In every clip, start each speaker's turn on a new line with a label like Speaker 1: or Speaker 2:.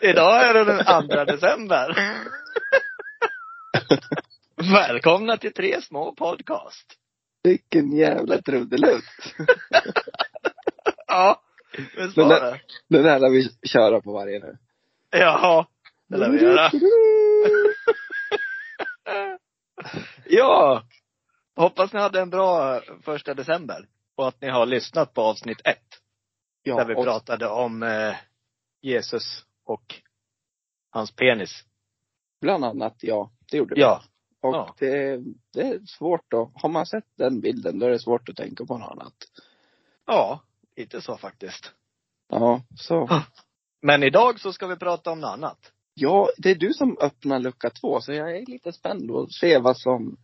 Speaker 1: Idag är det den 2 december. Välkomna till Tre små podcast.
Speaker 2: Vilken jävla trudelutt.
Speaker 1: Ja, visst
Speaker 2: Men
Speaker 1: var
Speaker 2: det-
Speaker 1: det?
Speaker 2: Den här lär vi köra på varje nu.
Speaker 1: Ja, det lär vi
Speaker 2: Mm.
Speaker 1: göra. Ja! Hoppas ni hade en bra första december. Och att ni har lyssnat på avsnitt ett.
Speaker 2: Ja,
Speaker 1: där vi
Speaker 2: och-
Speaker 1: pratade om eh, Jesus och hans penis.
Speaker 2: Bland annat, ja. Det gjorde vi.
Speaker 1: Ja.
Speaker 2: och
Speaker 1: ja.
Speaker 2: Det, det är svårt då. Har man sett den bilden, då är det svårt att tänka på något annat.
Speaker 1: Ja, lite så faktiskt.
Speaker 2: Ja, så.
Speaker 1: Men idag så ska vi prata om något annat.
Speaker 2: Ja, det är du som öppnar lucka två, så jag är lite spänd och se vad som,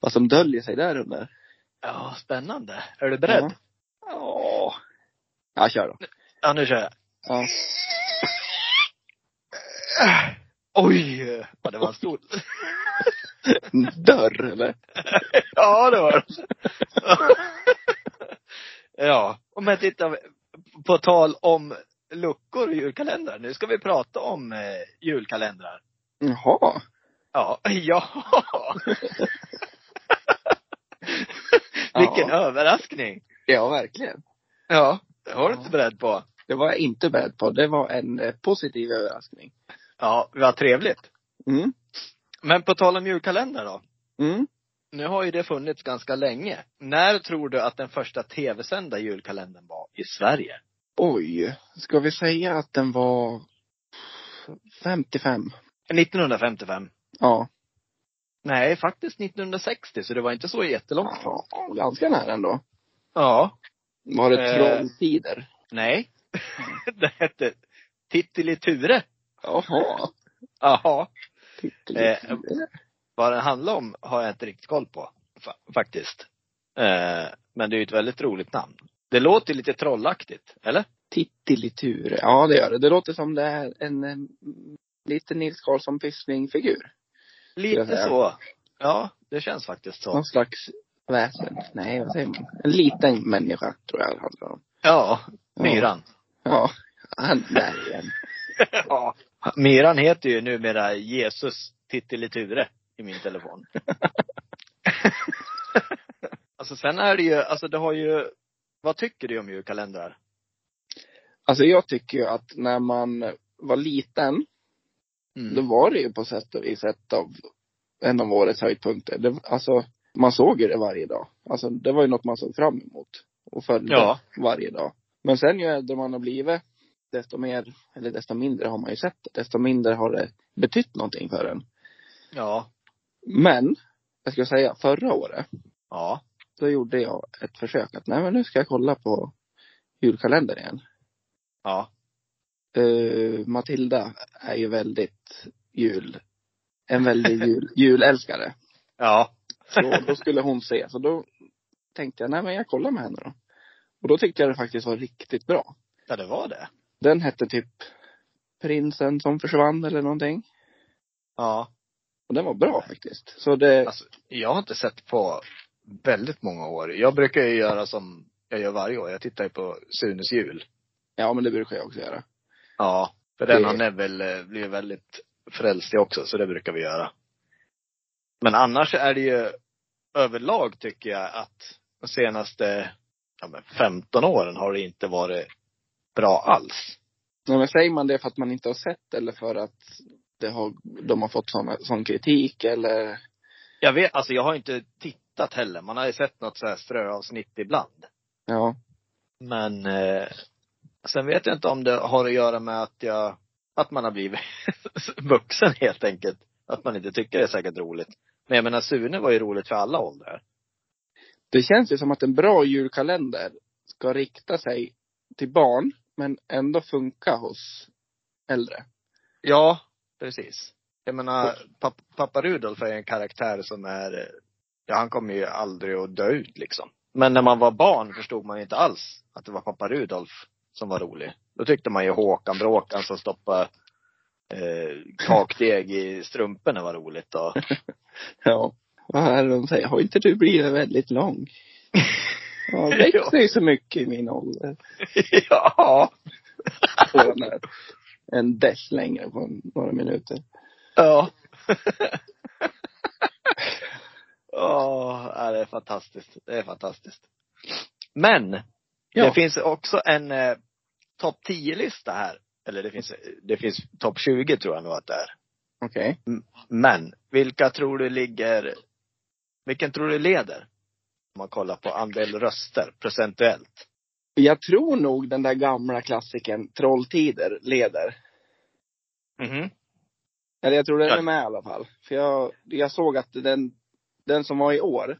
Speaker 2: vad som döljer sig där under.
Speaker 1: Ja, spännande. Är du beredd?
Speaker 2: Ja. Ja. Ja, kör då.
Speaker 1: Ja, nu kör jag.
Speaker 2: Ja.
Speaker 1: Äh, Oj! Ja, det var en stor.
Speaker 2: En Dörr, eller?
Speaker 1: Ja, det var det. Ja, om jag tittar på tal om luckor i julkalendern. Nu ska vi prata om eh, julkalendrar.
Speaker 2: Jaha.
Speaker 1: Ja, ja. Vilken överraskning.
Speaker 2: Ja, verkligen.
Speaker 1: Ja, det var du
Speaker 2: Ja.
Speaker 1: inte beredd på.
Speaker 2: Det var jag inte beredd på. Det var en eh, positiv överraskning.
Speaker 1: Ja, vad trevligt.
Speaker 2: Mm.
Speaker 1: Men på tal om julkalender då.
Speaker 2: Mm.
Speaker 1: Nu har ju det funnits ganska länge. När tror du att den första tv-sända julkalendern var i Sverige?
Speaker 2: Oj. Ska vi säga att den var 55?
Speaker 1: 1955.
Speaker 2: Ja.
Speaker 1: Nej, faktiskt 1960, så det var inte så jättelångt ifrån.
Speaker 2: Ja, Ganska nära ändå.
Speaker 1: Ja.
Speaker 2: Var det
Speaker 1: Eh.
Speaker 2: Trolltider?
Speaker 1: Nej. det hette Tittiliture.
Speaker 2: Jaha.
Speaker 1: Jaha.
Speaker 2: Tittelitur.
Speaker 1: Eh. Vad den handlar om har jag inte riktigt koll på, fa- faktiskt. Eh, men det är ju ett väldigt roligt namn. Det låter lite trollaktigt, eller?
Speaker 2: Tittelitur. Ja, det gör det. Det låter som det är en eh, liten Nils Karlsson Pyssling-figur.
Speaker 1: Lite
Speaker 2: säga.
Speaker 1: så. Ja, det känns faktiskt så.
Speaker 2: Någon slags väsen. Nej, vad säger man? En liten människa tror jag det handlar om.
Speaker 1: Ja,
Speaker 2: Ja.
Speaker 1: myran.
Speaker 2: Ja. Han där igen.
Speaker 1: Ja. Myran heter ju numera Jesus Titteliture i min telefon. alltså sen är det ju, alltså det har ju, vad tycker du om julkalendrar?
Speaker 2: Alltså jag tycker ju att när man var liten
Speaker 1: Mm.
Speaker 2: Då var det ju på sätt och vis ett av, en av årets höjdpunkter. Det, alltså, man såg ju det varje dag. Alltså, det var ju något man såg fram emot och följde
Speaker 1: Ja.
Speaker 2: varje dag. Men sen ju äldre man har blivit, desto mer, eller desto mindre har man ju sett det. Desto mindre har det betytt någonting för en.
Speaker 1: Ja.
Speaker 2: Men, jag ska säga, förra året,
Speaker 1: Ja.
Speaker 2: då gjorde jag ett försök att, nej men nu ska jag kolla på julkalendern igen.
Speaker 1: Ja.
Speaker 2: Eh, Matilda är ju väldigt jul, en väldig jul, julälskare.
Speaker 1: Ja.
Speaker 2: Så då skulle hon se. Så då tänkte jag, nej men jag kollar med henne då. Och då tyckte jag det faktiskt var riktigt bra.
Speaker 1: Ja, det var det.
Speaker 2: Den hette typ Prinsen som försvann eller någonting.
Speaker 1: Ja.
Speaker 2: Och den var bra faktiskt. Så det,
Speaker 1: Alltså, jag har inte sett på väldigt många år. Jag brukar ju göra som jag gör varje år. Jag tittar ju på Sunes jul.
Speaker 2: ja men det brukar jag också göra.
Speaker 1: Ja. För den
Speaker 2: Det-
Speaker 1: han är väl, eh, blir väldigt frälst i också, så det brukar vi göra. Men annars är det ju överlag tycker jag att de senaste ja, men 15 åren har det inte varit bra alls.
Speaker 2: Nej, men säger man det för att man inte har sett eller för att det har, de har fått sån, sån kritik eller?
Speaker 1: Jag vet, alltså jag har inte tittat heller. Man har ju sett något så här ströavsnitt ibland.
Speaker 2: Ja.
Speaker 1: Men eh, sen vet jag inte om det har att göra med att jag, att man har blivit vuxen helt enkelt. Att man inte tycker det är säkert roligt. Men jag menar Sune var ju roligt för alla åldrar.
Speaker 2: Det känns ju som att en bra julkalender ska rikta sig till barn men ändå funka hos äldre.
Speaker 1: Ja, precis. Jag menar, pappa, pappa Rudolf är ju en karaktär som är, eh, ja han kommer ju aldrig att dö ut liksom. Men när man var barn förstod man ju inte alls att det var pappa Rudolf som var rolig. Då tyckte man ju Håkan Bråkan som stoppade eh, kakdeg i strumporna var roligt och
Speaker 2: Ja. Vad är det de säger? Har inte du blivit väldigt lång? Ja, det växer ju så mycket i min ålder.
Speaker 1: ja.
Speaker 2: Får jag när- en dess längre på några minuter.
Speaker 1: Ja. Åh, ja, det är fantastiskt. Det är fantastiskt. Men,
Speaker 2: Ja.
Speaker 1: det finns också en eh, topp 10-lista här. Eller det finns, det finns topp 20 tror jag nog att det är.
Speaker 2: Okej.
Speaker 1: Men, vilka tror du ligger, vilken tror du leder? Om man kollar på andel röster, procentuellt.
Speaker 2: Jag tror nog den där gamla klassiken Trolltider leder.
Speaker 1: Mhm.
Speaker 2: Eller jag tror den
Speaker 1: Ja.
Speaker 2: är med i alla fall. För jag, jag såg att den, den som var i år,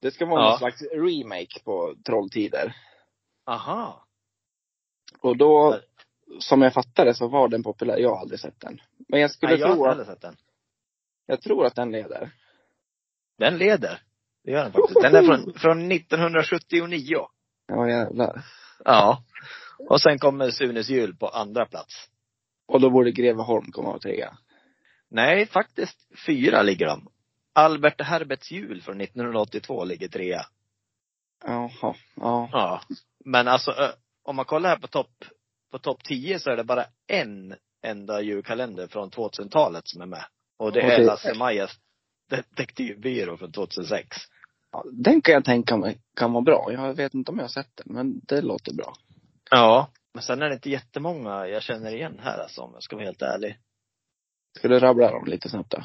Speaker 2: det ska vara
Speaker 1: Ja.
Speaker 2: någon slags remake på Trolltider.
Speaker 1: Aha.
Speaker 2: Och då, som jag fattade så var den populär. Jag har aldrig sett den. Men jag skulle
Speaker 1: Nej, jag har
Speaker 2: tro
Speaker 1: inte
Speaker 2: att,
Speaker 1: heller sett den.
Speaker 2: jag tror att den leder.
Speaker 1: Den leder. Det gör den faktiskt. Den är från, från 1979.
Speaker 2: Ja jävlar.
Speaker 1: Ja. Och sen kommer Sunes jul på andra plats.
Speaker 2: Och då borde Greveholm komma och trea.
Speaker 1: Nej, faktiskt fyra ligger de. Albert Herberts jul från 1982 ligger trea.
Speaker 2: Jaha. Ja.
Speaker 1: Ja. Men alltså, ö, om man kollar här på topp, på topp 10 så är det bara en enda julkalender från 2000-talet som är med. Och det är
Speaker 2: Okej.
Speaker 1: Lasse Majas detektivbyrå från 2006.
Speaker 2: Ja, Den kan jag tänka mig kan vara bra. Jag vet inte om jag har sett den, men det låter bra.
Speaker 1: Ja. Men sen är det inte jättemånga jag känner igen här alltså, om jag ska vara helt ärlig.
Speaker 2: Ska du rabbla dem lite snabbt då?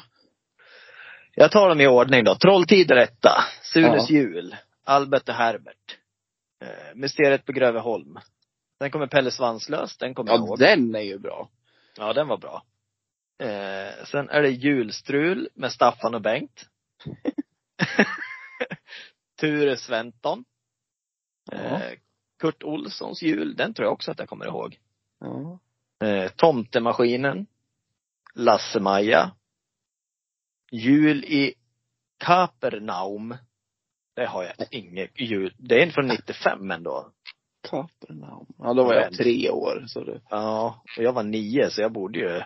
Speaker 1: Jag tar dem i ordning då. Trolltider etta. Sunes
Speaker 2: Ja.
Speaker 1: jul. Albert och Herbert. Eh, Mysteriet på Gröveholm. Sen kommer Pelle Svanslös, den kommer jag
Speaker 2: Ja,
Speaker 1: ihåg.
Speaker 2: den är ju bra.
Speaker 1: Ja, den var bra. Eh, sen är det Julstrul med Staffan och Bengt. Ture Sventon.
Speaker 2: Ja.
Speaker 1: Eh, Kurt Olssons jul, den tror jag också att jag kommer ihåg.
Speaker 2: ja.
Speaker 1: Eh, Tomtemaskinen. Lasse-Maja. Jul i Kapernaum. Det har jag inget jul. Det är en från 95 ändå.
Speaker 2: Kapernaum. Ja, då var jag
Speaker 1: Men-
Speaker 2: tre år. Så det,
Speaker 1: Ja, och jag var nio så jag borde ju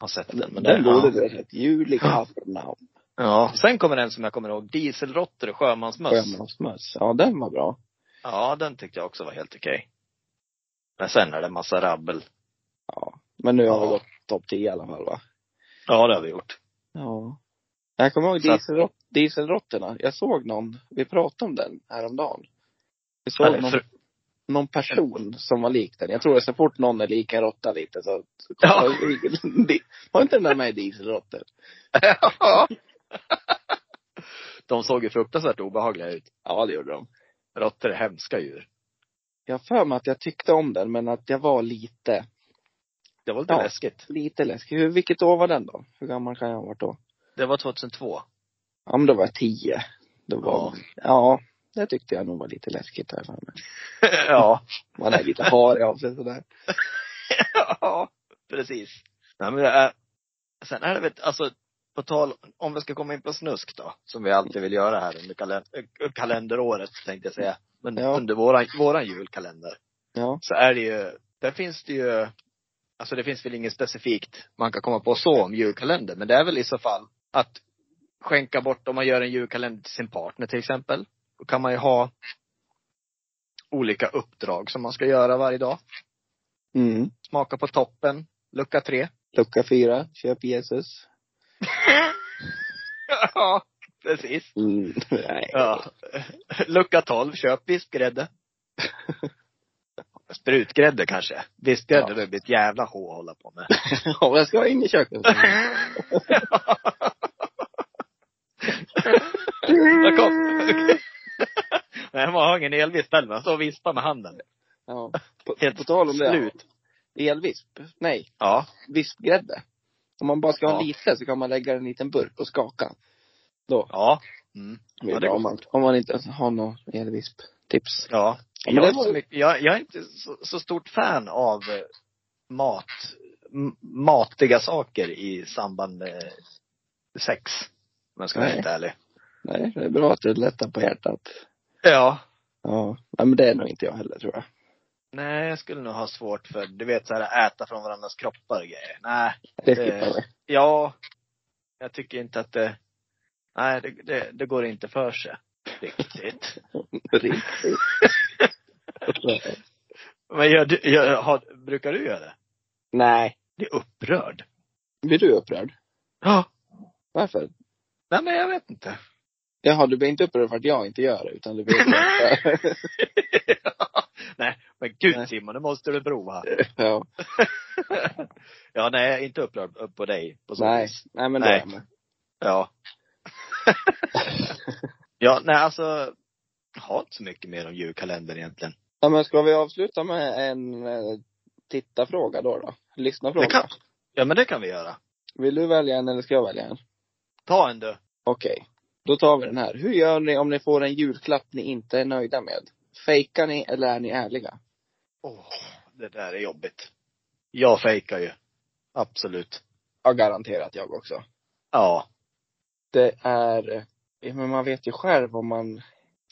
Speaker 1: ha sett den. Men
Speaker 2: den
Speaker 1: det,
Speaker 2: borde
Speaker 1: ja.
Speaker 2: du ha sett. Jul i Kapernaum.
Speaker 1: Ja, sen kommer en som jag kommer ihåg. Dieselråttor och sjömansmöss.
Speaker 2: Sjömansmöss. Ja, den var bra.
Speaker 1: Ja, den tyckte jag också var helt okej. Men sen är det massa rabbel.
Speaker 2: Ja. Men nu har vi
Speaker 1: Ja.
Speaker 2: gått topp 10 i alla fall va?
Speaker 1: Ja, det har vi gjort.
Speaker 2: Ja. Jag kommer ihåg
Speaker 1: Så att-
Speaker 2: dieselrott, dieselråttorna. Jag såg någon, vi pratade om den häromdagen. Vi såg
Speaker 1: Eller,
Speaker 2: någon,
Speaker 1: för,
Speaker 2: någon person som var lik den. Jag tror att så fort någon är lik en råtta lite så
Speaker 1: Ja.
Speaker 2: Var inte den där med i dieselråttor?
Speaker 1: de såg ju fruktansvärt obehagliga ut.
Speaker 2: Ja, det gjorde de.
Speaker 1: Råttor är hemska djur.
Speaker 2: Jag har för mig att jag tyckte om den, men att jag var lite
Speaker 1: Det var lite
Speaker 2: Ja.
Speaker 1: läskigt.
Speaker 2: Lite läskig. Hur, vilket år var den då? Hur gammal kan jag ha varit då?
Speaker 1: Det var 2002.
Speaker 2: Ja men då var jag tio. Då var, ja. ja, det tyckte jag nog var lite läskigt här för mig.
Speaker 1: ja.
Speaker 2: Man är lite harig av sig sådär.
Speaker 1: ja, precis. Nej, men det är, sen är det väl, alltså, på tal, om vi ska komma in på snusk då, som vi alltid vill göra här under kalen- eh, kalenderåret, tänkte jag säga. Men
Speaker 2: Ja.
Speaker 1: under våran, våran julkalender,
Speaker 2: Ja.
Speaker 1: så är det ju, där finns det ju, alltså det finns väl inget specifikt man kan komma på så om julkalender, men det är väl i så fall att skänka bort, om man gör en julkalender till sin partner till exempel, då kan man ju ha olika uppdrag som man ska göra varje dag.
Speaker 2: Mm.
Speaker 1: Smaka på toppen, lucka tre.
Speaker 2: Lucka fyra, köp Jesus.
Speaker 1: ja, precis.
Speaker 2: Mm. Nej.
Speaker 1: Ja. Lucka 12, köp vispgrädde. Sprutgrädde kanske. Vispgrädde,
Speaker 2: Ja.
Speaker 1: det blir ett jävla hå att hålla på med.
Speaker 2: Ja, jag ska in i köket.
Speaker 1: Jag kom. Nej, man har ingen elvisp heller, man står och vispar med handen.
Speaker 2: Ja. På,
Speaker 1: Helt
Speaker 2: på tal om det.
Speaker 1: slut.
Speaker 2: Elvisp. Nej,
Speaker 1: Ja.
Speaker 2: vispgrädde. Om man bara ska ha
Speaker 1: Ja.
Speaker 2: lite så kan man lägga den i en liten burk och skaka. Då.
Speaker 1: Ja. Mm.
Speaker 2: blir
Speaker 1: Ja,
Speaker 2: det
Speaker 1: det
Speaker 2: bra om, man, om man inte har någon elvisp. Tips.
Speaker 1: Ja.
Speaker 2: Ja,
Speaker 1: jag,
Speaker 2: men
Speaker 1: är
Speaker 2: det
Speaker 1: inte
Speaker 2: var-
Speaker 1: så mycket, jag, jag är inte så, så stort fan av eh, mat, m- matiga saker i samband med sex. Om jag ska vara
Speaker 2: Nej.
Speaker 1: helt ärlig.
Speaker 2: Nej, det är bra att du lättar på hjärtat.
Speaker 1: Ja.
Speaker 2: Ja. Nej, men det är nog inte jag heller tror jag.
Speaker 1: Nej, jag skulle nog ha svårt för, du vet så här äta från varandras kroppar och grejer. Nej.
Speaker 2: Det
Speaker 1: Det-
Speaker 2: skippar vi.
Speaker 1: Ja. Jag tycker inte att det, nej det, det, det går inte för sig. Riktigt.
Speaker 2: Riktigt.
Speaker 1: Men gör du, gör, har, brukar du göra det?
Speaker 2: Nej,
Speaker 1: blir upprörd.
Speaker 2: Blir du upprörd?
Speaker 1: Ja.
Speaker 2: Varför?
Speaker 1: Nej men jag vet inte.
Speaker 2: Jaha, du blir inte upprörd för att jag inte gör det, utan du blir upprörd för...
Speaker 1: Nej, men gud
Speaker 2: Nej.
Speaker 1: Simon, det måste du prova.
Speaker 2: ja.
Speaker 1: Ja, nej, jag är inte upprörd upp på dig på så
Speaker 2: Nej,
Speaker 1: vis.
Speaker 2: nej men det
Speaker 1: Nej.
Speaker 2: är jag med.
Speaker 1: Ja. ja, nej alltså. Jag har inte så mycket mer om julkalendern egentligen.
Speaker 2: Ja, men ska vi avsluta med en eh, tittarfråga då? då? Lyssnarfråga.
Speaker 1: Det kan- Ja, men det kan vi göra.
Speaker 2: Vill du välja en eller ska jag välja en?
Speaker 1: Ta en du.
Speaker 2: Okej, då tar vi den här. Hur gör ni om ni får en julklapp ni inte är nöjda med? Fejkar ni eller är ni ärliga?
Speaker 1: Åh, det där är jobbigt. Jag fejkar ju. Absolut.
Speaker 2: Ja, garanterat jag också.
Speaker 1: Ja.
Speaker 2: Det är, ja, men man vet ju själv om man,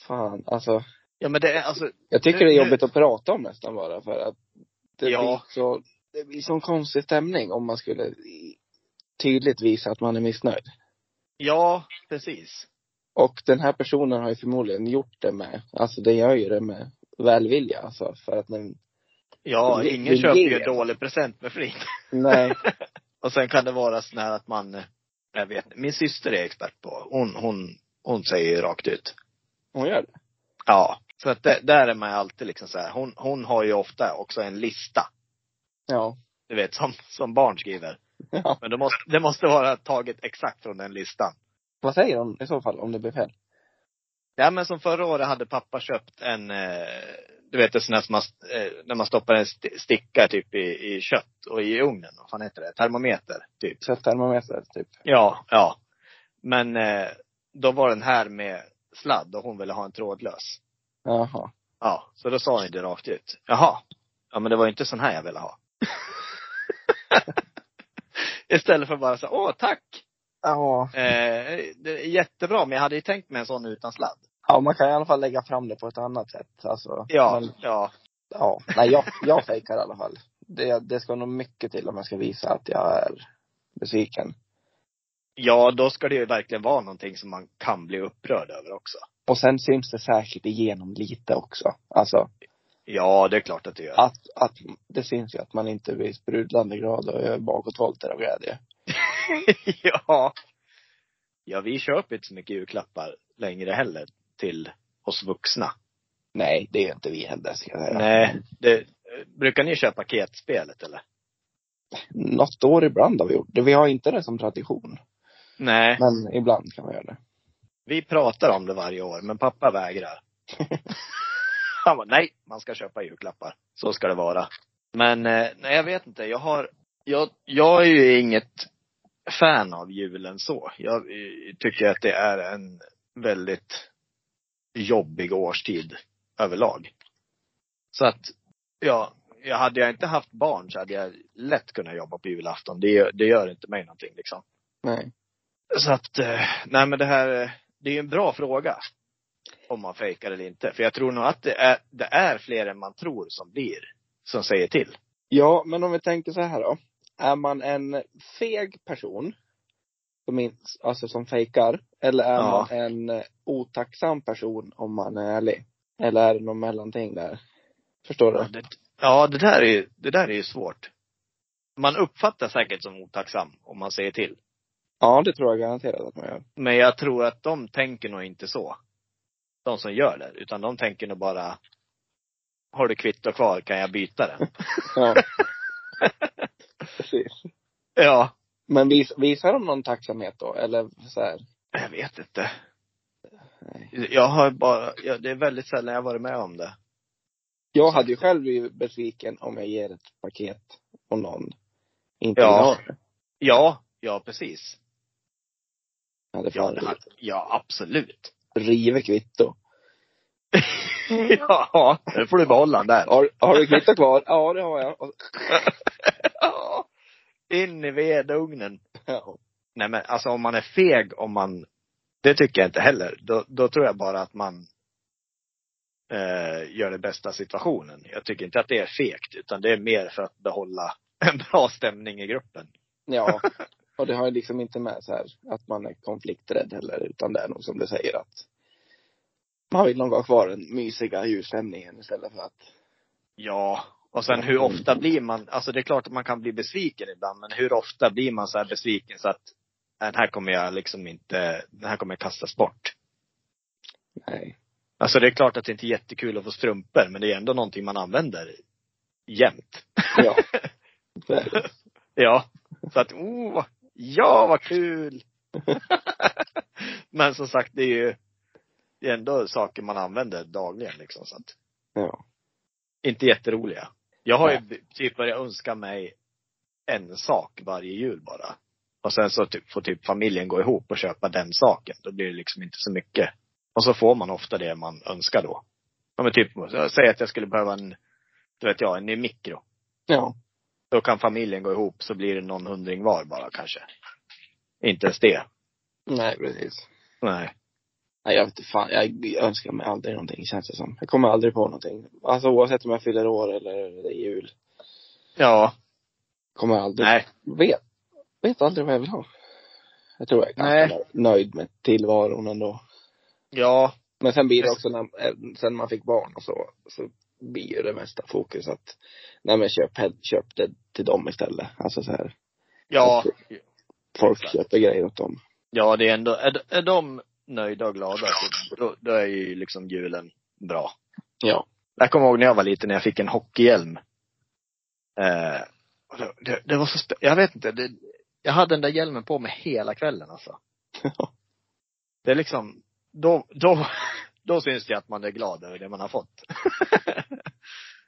Speaker 2: fan alltså.
Speaker 1: Ja men det är alltså,
Speaker 2: Jag tycker
Speaker 1: Nu-
Speaker 2: det är
Speaker 1: nu-
Speaker 2: jobbigt att prata om nästan bara för att det
Speaker 1: Ja.
Speaker 2: blir så, det blir sån konstig stämning om man skulle i- tydligt visa att man är missnöjd.
Speaker 1: ja precis.
Speaker 2: Och den här personen har ju förmodligen gjort det med, alltså den gör ju det med välvilja alltså för att den,
Speaker 1: Ja,
Speaker 2: Vi-
Speaker 1: ingen
Speaker 2: vi
Speaker 1: köper ju
Speaker 2: ger.
Speaker 1: en dålig present med flit.
Speaker 2: nej.
Speaker 1: Och sen kan det vara sån här att man, eh, jag vet inte. min syster är expert på, hon, hon, hon säger ju rakt ut.
Speaker 2: Hon gör det?
Speaker 1: Ja. Så att det, där är man ju alltid liksom så här. Hon, hon har ju ofta också en lista.
Speaker 2: Ja.
Speaker 1: Du vet, som, som barn skriver.
Speaker 2: ja.
Speaker 1: Men det måste, det måste vara taget exakt från den listan.
Speaker 2: Vad säger hon i så fall om det blir fel?
Speaker 1: Ja men som förra året hade pappa köpt en, eh, du vet en sån här som man, eh, när man stoppar en st- sticka typ i, i kött och i ugnen. Vad fan heter det? Termometer, typ.
Speaker 2: Kötttermometer, typ.
Speaker 1: Ja, ja. Men eh, då var den här med sladd och hon ville ha en trådlös.
Speaker 2: Jaha.
Speaker 1: Ja, så då sa hon det rakt ut. Jaha. Ja men det var ju inte sån här jag ville ha. Istället för bara så åh tack!
Speaker 2: Ja.
Speaker 1: Eh, det är jättebra men jag hade ju tänkt mig en sån utan sladd.
Speaker 2: Ja, man kan i alla fall lägga fram det på ett annat sätt. Alltså,
Speaker 1: Ja,
Speaker 2: Men,
Speaker 1: ja.
Speaker 2: ja. Nej, jag, jag fejkar i alla fall. Det, det ska nog mycket till om jag ska visa att jag är besviken.
Speaker 1: Ja, då ska det ju verkligen vara någonting som man kan bli upprörd över också.
Speaker 2: Och sen syns det säkert igenom lite också. Alltså,
Speaker 1: Ja, det är klart att det gör.
Speaker 2: att, att det syns ju att man inte blir sprudlande glad och gör bakåtvolter av glädje.
Speaker 1: ja. Ja, vi köper inte så mycket julklappar längre heller till oss vuxna.
Speaker 2: Nej, det är ju inte vi heller, ska jag säga.
Speaker 1: Nej. Det, brukar ni köpa paketspelet eller?
Speaker 2: Något år ibland har vi gjort det. Vi har inte det som tradition.
Speaker 1: Nej.
Speaker 2: Men ibland kan man göra det.
Speaker 1: Vi pratar om det varje år, men pappa vägrar. Han bara, nej, man ska köpa julklappar. Så ska det vara. Men eh, nej, jag vet inte. Jag har, jag, jag är ju inget fan av julen så. Jag eh, tycker att det är en väldigt jobbig årstid överlag. Så att, ja, jag hade jag inte haft barn så hade jag lätt kunnat jobba på julafton. Det, gör- det gör inte mig någonting liksom.
Speaker 2: Nej.
Speaker 1: Så att, eh, nej men det här, eh, det är ju en bra fråga. Om man fejkar eller inte. För jag tror nog att det är, det är fler än man tror som blir, som säger till.
Speaker 2: Ja, men om vi tänker så här då. Är man en feg person, som, in, alltså som fejkar, eller är
Speaker 1: Ja.
Speaker 2: man en eh, otacksam person om man är ärlig? Eller är det någon mellanting där? Förstår du?
Speaker 1: Ja, det, ja, det där är ju, det där är ju svårt. Man uppfattas säkert som otacksam om man säger till.
Speaker 2: Ja, det tror jag garanterat att man gör.
Speaker 1: Men jag tror att de tänker nog inte så. De som gör det. Utan de tänker nog bara, har du kvitto kvar kan jag byta den?
Speaker 2: Ja. Precis.
Speaker 1: ja,
Speaker 2: Men vis, visar de någon tacksamhet då? Eller så här?
Speaker 1: jag vet inte.
Speaker 2: Nej.
Speaker 1: Jag har bara, jag, det är väldigt sällan jag har varit med om det.
Speaker 2: Jag hade ju själv blivit besviken om jag ger ett paket och någon inte
Speaker 1: Ja.
Speaker 2: vill ha det.
Speaker 1: Ja, ja precis.
Speaker 2: Jag hade
Speaker 1: Ja,
Speaker 2: fan
Speaker 1: det hade, ja absolut.
Speaker 2: rivit kvitto. Mm.
Speaker 1: ja, nu får du behålla den där.
Speaker 2: Har, har du kvitto kvar? Ja, det har jag. Och-
Speaker 1: Ja. In i vedugnen.
Speaker 2: Ja.
Speaker 1: Nej men alltså om man är feg om man, det tycker jag inte heller. Då, då tror jag bara att man eh, gör det bästa av situationen. Jag tycker inte att det är fegt utan det är mer för att behålla en bra stämning i gruppen.
Speaker 2: ja. Och det har ju liksom inte med så här att man är konflikträdd heller, utan det är nog som du säger att man vill nog ha kvar den mysiga djurstämningen istället för att
Speaker 1: Ja, Och sen hur ofta blir man, alltså det är klart att man kan bli besviken ibland, men hur ofta blir man så här besviken så att "Nej, den här kommer jag liksom inte, den här kommer jag kastas bort.
Speaker 2: Nej.
Speaker 1: Alltså det är klart att det inte är jättekul att få strumpor, men det är ändå någonting man använder jämt.
Speaker 2: Ja. Det är det.
Speaker 1: Ja. Så att, oh, ja vad kul! men som sagt, det är ju det är ändå saker man använder dagligen liksom. Så att,
Speaker 2: ja.
Speaker 1: inte jätteroliga. Jag har ju b- typ börjat önska mig en sak varje jul bara. Och sen så typ, får typ familjen gå ihop och köpa den saken. Då blir det liksom inte så mycket. Och så får man ofta det man önskar då. Ja, men typ, säg att jag skulle behöva en, du vet jag, en ny mikro.
Speaker 2: Ja.
Speaker 1: Då kan familjen gå ihop så blir det någon hundring var bara kanske. Inte ens det.
Speaker 2: Nej, precis.
Speaker 1: Nej.
Speaker 2: Nej, jag vet inte fan. Jag önskar mig aldrig någonting känns det som. Jag kommer aldrig på någonting. Alltså oavsett om jag fyller år eller det är jul.
Speaker 1: Ja.
Speaker 2: Kommer jag aldrig.
Speaker 1: Nej.
Speaker 2: Vet, vet aldrig vad jag vill ha. Jag tror jag är ganska
Speaker 1: Nej.
Speaker 2: nö- nöjd med tillvaron ändå.
Speaker 1: Ja.
Speaker 2: Men sen blir det också när, eh, sen man fick barn och så, så blir ju det mesta fokus att, nej men köp, head- köp det till dem istället. Alltså så här,
Speaker 1: Ja.
Speaker 2: folk
Speaker 1: Exakt.
Speaker 2: köper grejer åt dem.
Speaker 1: Ja, det är ändå, är, är de nöjda och glada så då, då är ju liksom julen bra.
Speaker 2: Ja.
Speaker 1: Jag kommer ihåg när jag var liten när jag fick en hockeyhjälm. Eh, och det, det, det var så spe- jag vet inte, det, jag hade den där hjälmen på mig hela kvällen alltså. Det är liksom, då, då, då syns det att man är glad över det man har fått.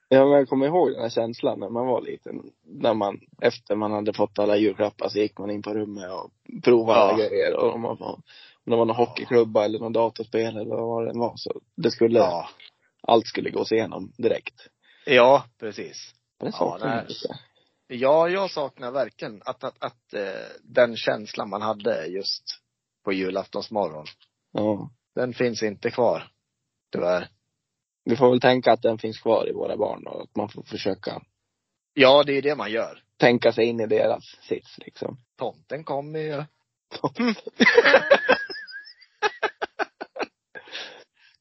Speaker 2: Ja men jag kommer ihåg den här känslan när man var liten. När man, efter man hade fått alla julklappar så gick man in på rummet och provade
Speaker 1: Ja.
Speaker 2: alla grejer. Och om, man, var- om det var någon hockeyklubba eller någon datorspel eller vad det än var så det skulle,
Speaker 1: Ja.
Speaker 2: allt skulle gås igenom direkt.
Speaker 1: Ja, precis.
Speaker 2: Men det
Speaker 1: Ja,
Speaker 2: saknar man
Speaker 1: nej.
Speaker 2: lite.
Speaker 1: Ja, jag saknar verkligen att, att, att eh, den känslan man hade just på julaftonsmorgon.
Speaker 2: Ja.
Speaker 1: Den finns inte kvar. Tyvärr.
Speaker 2: Vi får väl tänka att den finns kvar i våra barn och att man får försöka
Speaker 1: Ja, det är det man gör.
Speaker 2: tänka sig in i deras sits liksom.
Speaker 1: Tomten kommer ju.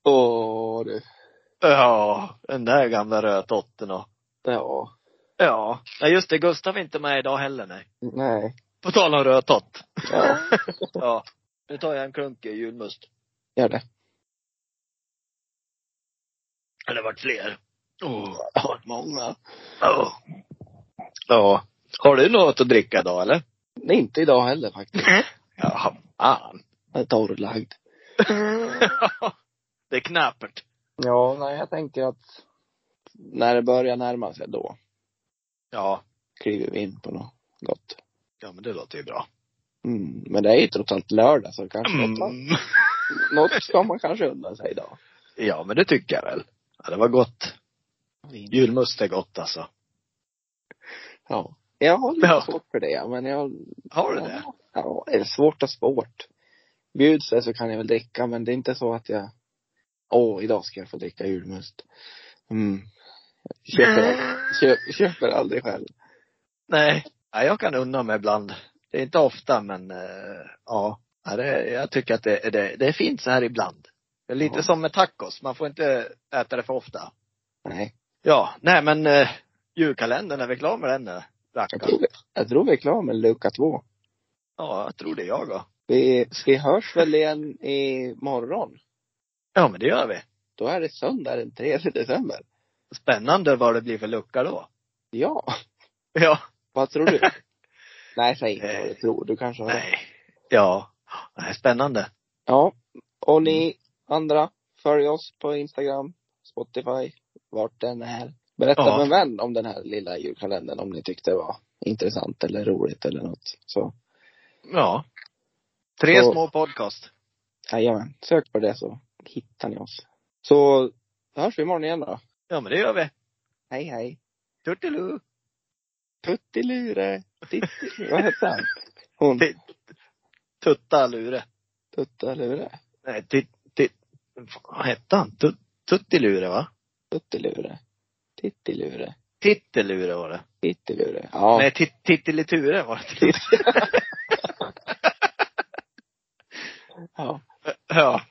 Speaker 2: Åh du.
Speaker 1: Ja, den där gamla rödtotten och.
Speaker 2: Ja.
Speaker 1: Ja. Nej just det, Gustav är inte med idag heller nej.
Speaker 2: Nej.
Speaker 1: På tal om rödtott.
Speaker 2: Ja.
Speaker 1: Ja. Nu tar jag en klunk i julmust.
Speaker 2: Gör det.
Speaker 1: Eller vart fler. Åh.
Speaker 2: Ja, många.
Speaker 1: Ja. Ja. Har du något att dricka idag eller?
Speaker 2: Nej, inte idag heller faktiskt.
Speaker 1: Ja, fan.
Speaker 2: Jag är torrlagd.
Speaker 1: Mm. det är knapert.
Speaker 2: Ja, nej jag tänker att när det börjar närma sig då
Speaker 1: Ja.
Speaker 2: kliver vi in på något gott.
Speaker 1: Ja men det låter ju bra.
Speaker 2: Mm. Men det är ju trots allt lördag så kanske något,
Speaker 1: Mm.
Speaker 2: något ska man kanske unna sig idag.
Speaker 1: Ja men det tycker jag väl. Ja, det var gott. Julmust är gott alltså.
Speaker 2: Ja. Jag har lite
Speaker 1: Ja.
Speaker 2: svårt för det men jag
Speaker 1: Har du det?
Speaker 2: Ja, är det svårt och svårt. Bjuds det så kan jag väl dricka men det är inte så att jag, åh idag ska jag få dricka julmust. Mm. Köper, aldrig, köp, köper aldrig själv.
Speaker 1: Nej. Ja, jag kan unna mig ibland. Det är inte ofta men eh, ja. ja det, jag tycker att det, det, det är fint så här ibland. Det är lite
Speaker 2: Ja.
Speaker 1: som med tacos, man får inte äta det för ofta.
Speaker 2: Nej,
Speaker 1: Ja, nej men eh, julkalendern, är vi klara med den nu?
Speaker 2: jag
Speaker 1: Rackarn.
Speaker 2: tror, vi- jag tror vi är klara med lucka två.
Speaker 1: Ja, jag tror det är jag då.
Speaker 2: Vi, vi hörs väl igen i morgon.
Speaker 1: Ja men det gör vi.
Speaker 2: Då är det söndag den 3 december.
Speaker 1: Spännande vad det blir för lucka då.
Speaker 2: Ja,
Speaker 1: Ja.
Speaker 2: vad tror du? Nej, säg inte vad du tror. Du kanske har rätt.
Speaker 1: Nej. Ja. Nej, spännande.
Speaker 2: Ja. Och
Speaker 1: Mm.
Speaker 2: ni andra, följ oss på Instagram, Spotify, vart den är. Berätta
Speaker 1: Ja.
Speaker 2: för en vän om den här lilla julkalendern om ni tyckte det var intressant eller roligt eller något. Så,
Speaker 1: Ja. Tre
Speaker 2: Så-
Speaker 1: små podcast.
Speaker 2: jajamän. Sök på det så hittar ni oss. Så hörs vi imorgon igen då.
Speaker 1: Ja men det gör vi.
Speaker 2: Hej hej.
Speaker 1: Tuttilu.
Speaker 2: Puttilure. Titti- Vad hette han? Hon.
Speaker 1: Titt- Tuttalure.
Speaker 2: Tuttalure.
Speaker 1: Nej, titt, titt, vad hette han? Tut, tuttilure va?
Speaker 2: Tuttilure. Tittilure.
Speaker 1: Tittelure var det.
Speaker 2: Tittilure. Ja.
Speaker 1: Nej, tit, titteliture var det.
Speaker 2: ja.
Speaker 1: ja.